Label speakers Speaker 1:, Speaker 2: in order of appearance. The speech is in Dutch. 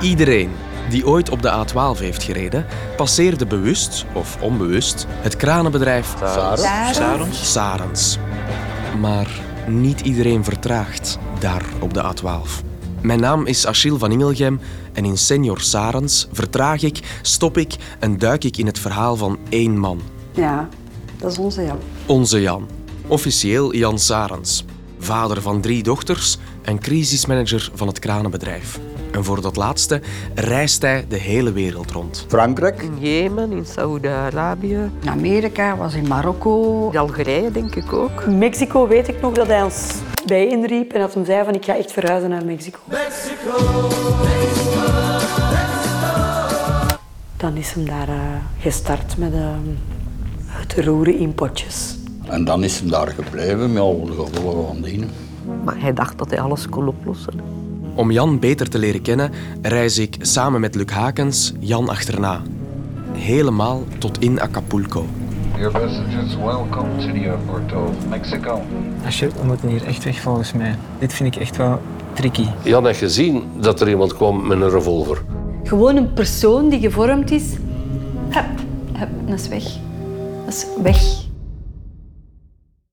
Speaker 1: Iedereen die ooit op de A12 heeft gereden, passeerde bewust of onbewust het kranenbedrijf
Speaker 2: Daarom?
Speaker 1: Sarens. Maar niet iedereen vertraagt daar op de A12. Mijn naam is Achille van Ingelgem en in Senior Sarens vertraag ik, stop ik en duik ik in het verhaal van één man.
Speaker 2: Ja, dat is onze Jan.
Speaker 1: Onze Jan. Officieel Jan Sarens. Vader van drie dochters en crisismanager van het kranenbedrijf. En voor dat laatste reist hij de hele wereld rond.
Speaker 3: Frankrijk,
Speaker 4: In Jemen, in Saoedi-Arabië,
Speaker 2: In Amerika, was in Marokko.
Speaker 4: in Algerije denk ik ook.
Speaker 5: In Mexico weet ik nog dat hij ons bijeenriep en dat hij zei van ik ga echt verhuizen naar Mexico. Dan is hem daar eh, gestart met eh, het roeren in potjes.
Speaker 3: En dan is hem daar gebleven met al de gevolgen van dienen.
Speaker 4: Maar hij dacht dat hij alles kon oplossen.
Speaker 1: Om Jan beter te leren kennen, reis ik samen met Luc Hakens Jan achterna. Helemaal tot in Acapulco.
Speaker 6: Your message is welcome to the airport of Mexico.
Speaker 7: Shit, we moeten hier echt weg volgens mij. Dit vind ik echt wel tricky.
Speaker 8: Jan had gezien dat er iemand kwam met een revolver.
Speaker 9: Gewoon een persoon die gevormd is. Hup, hup, dat is weg. Dat is weg.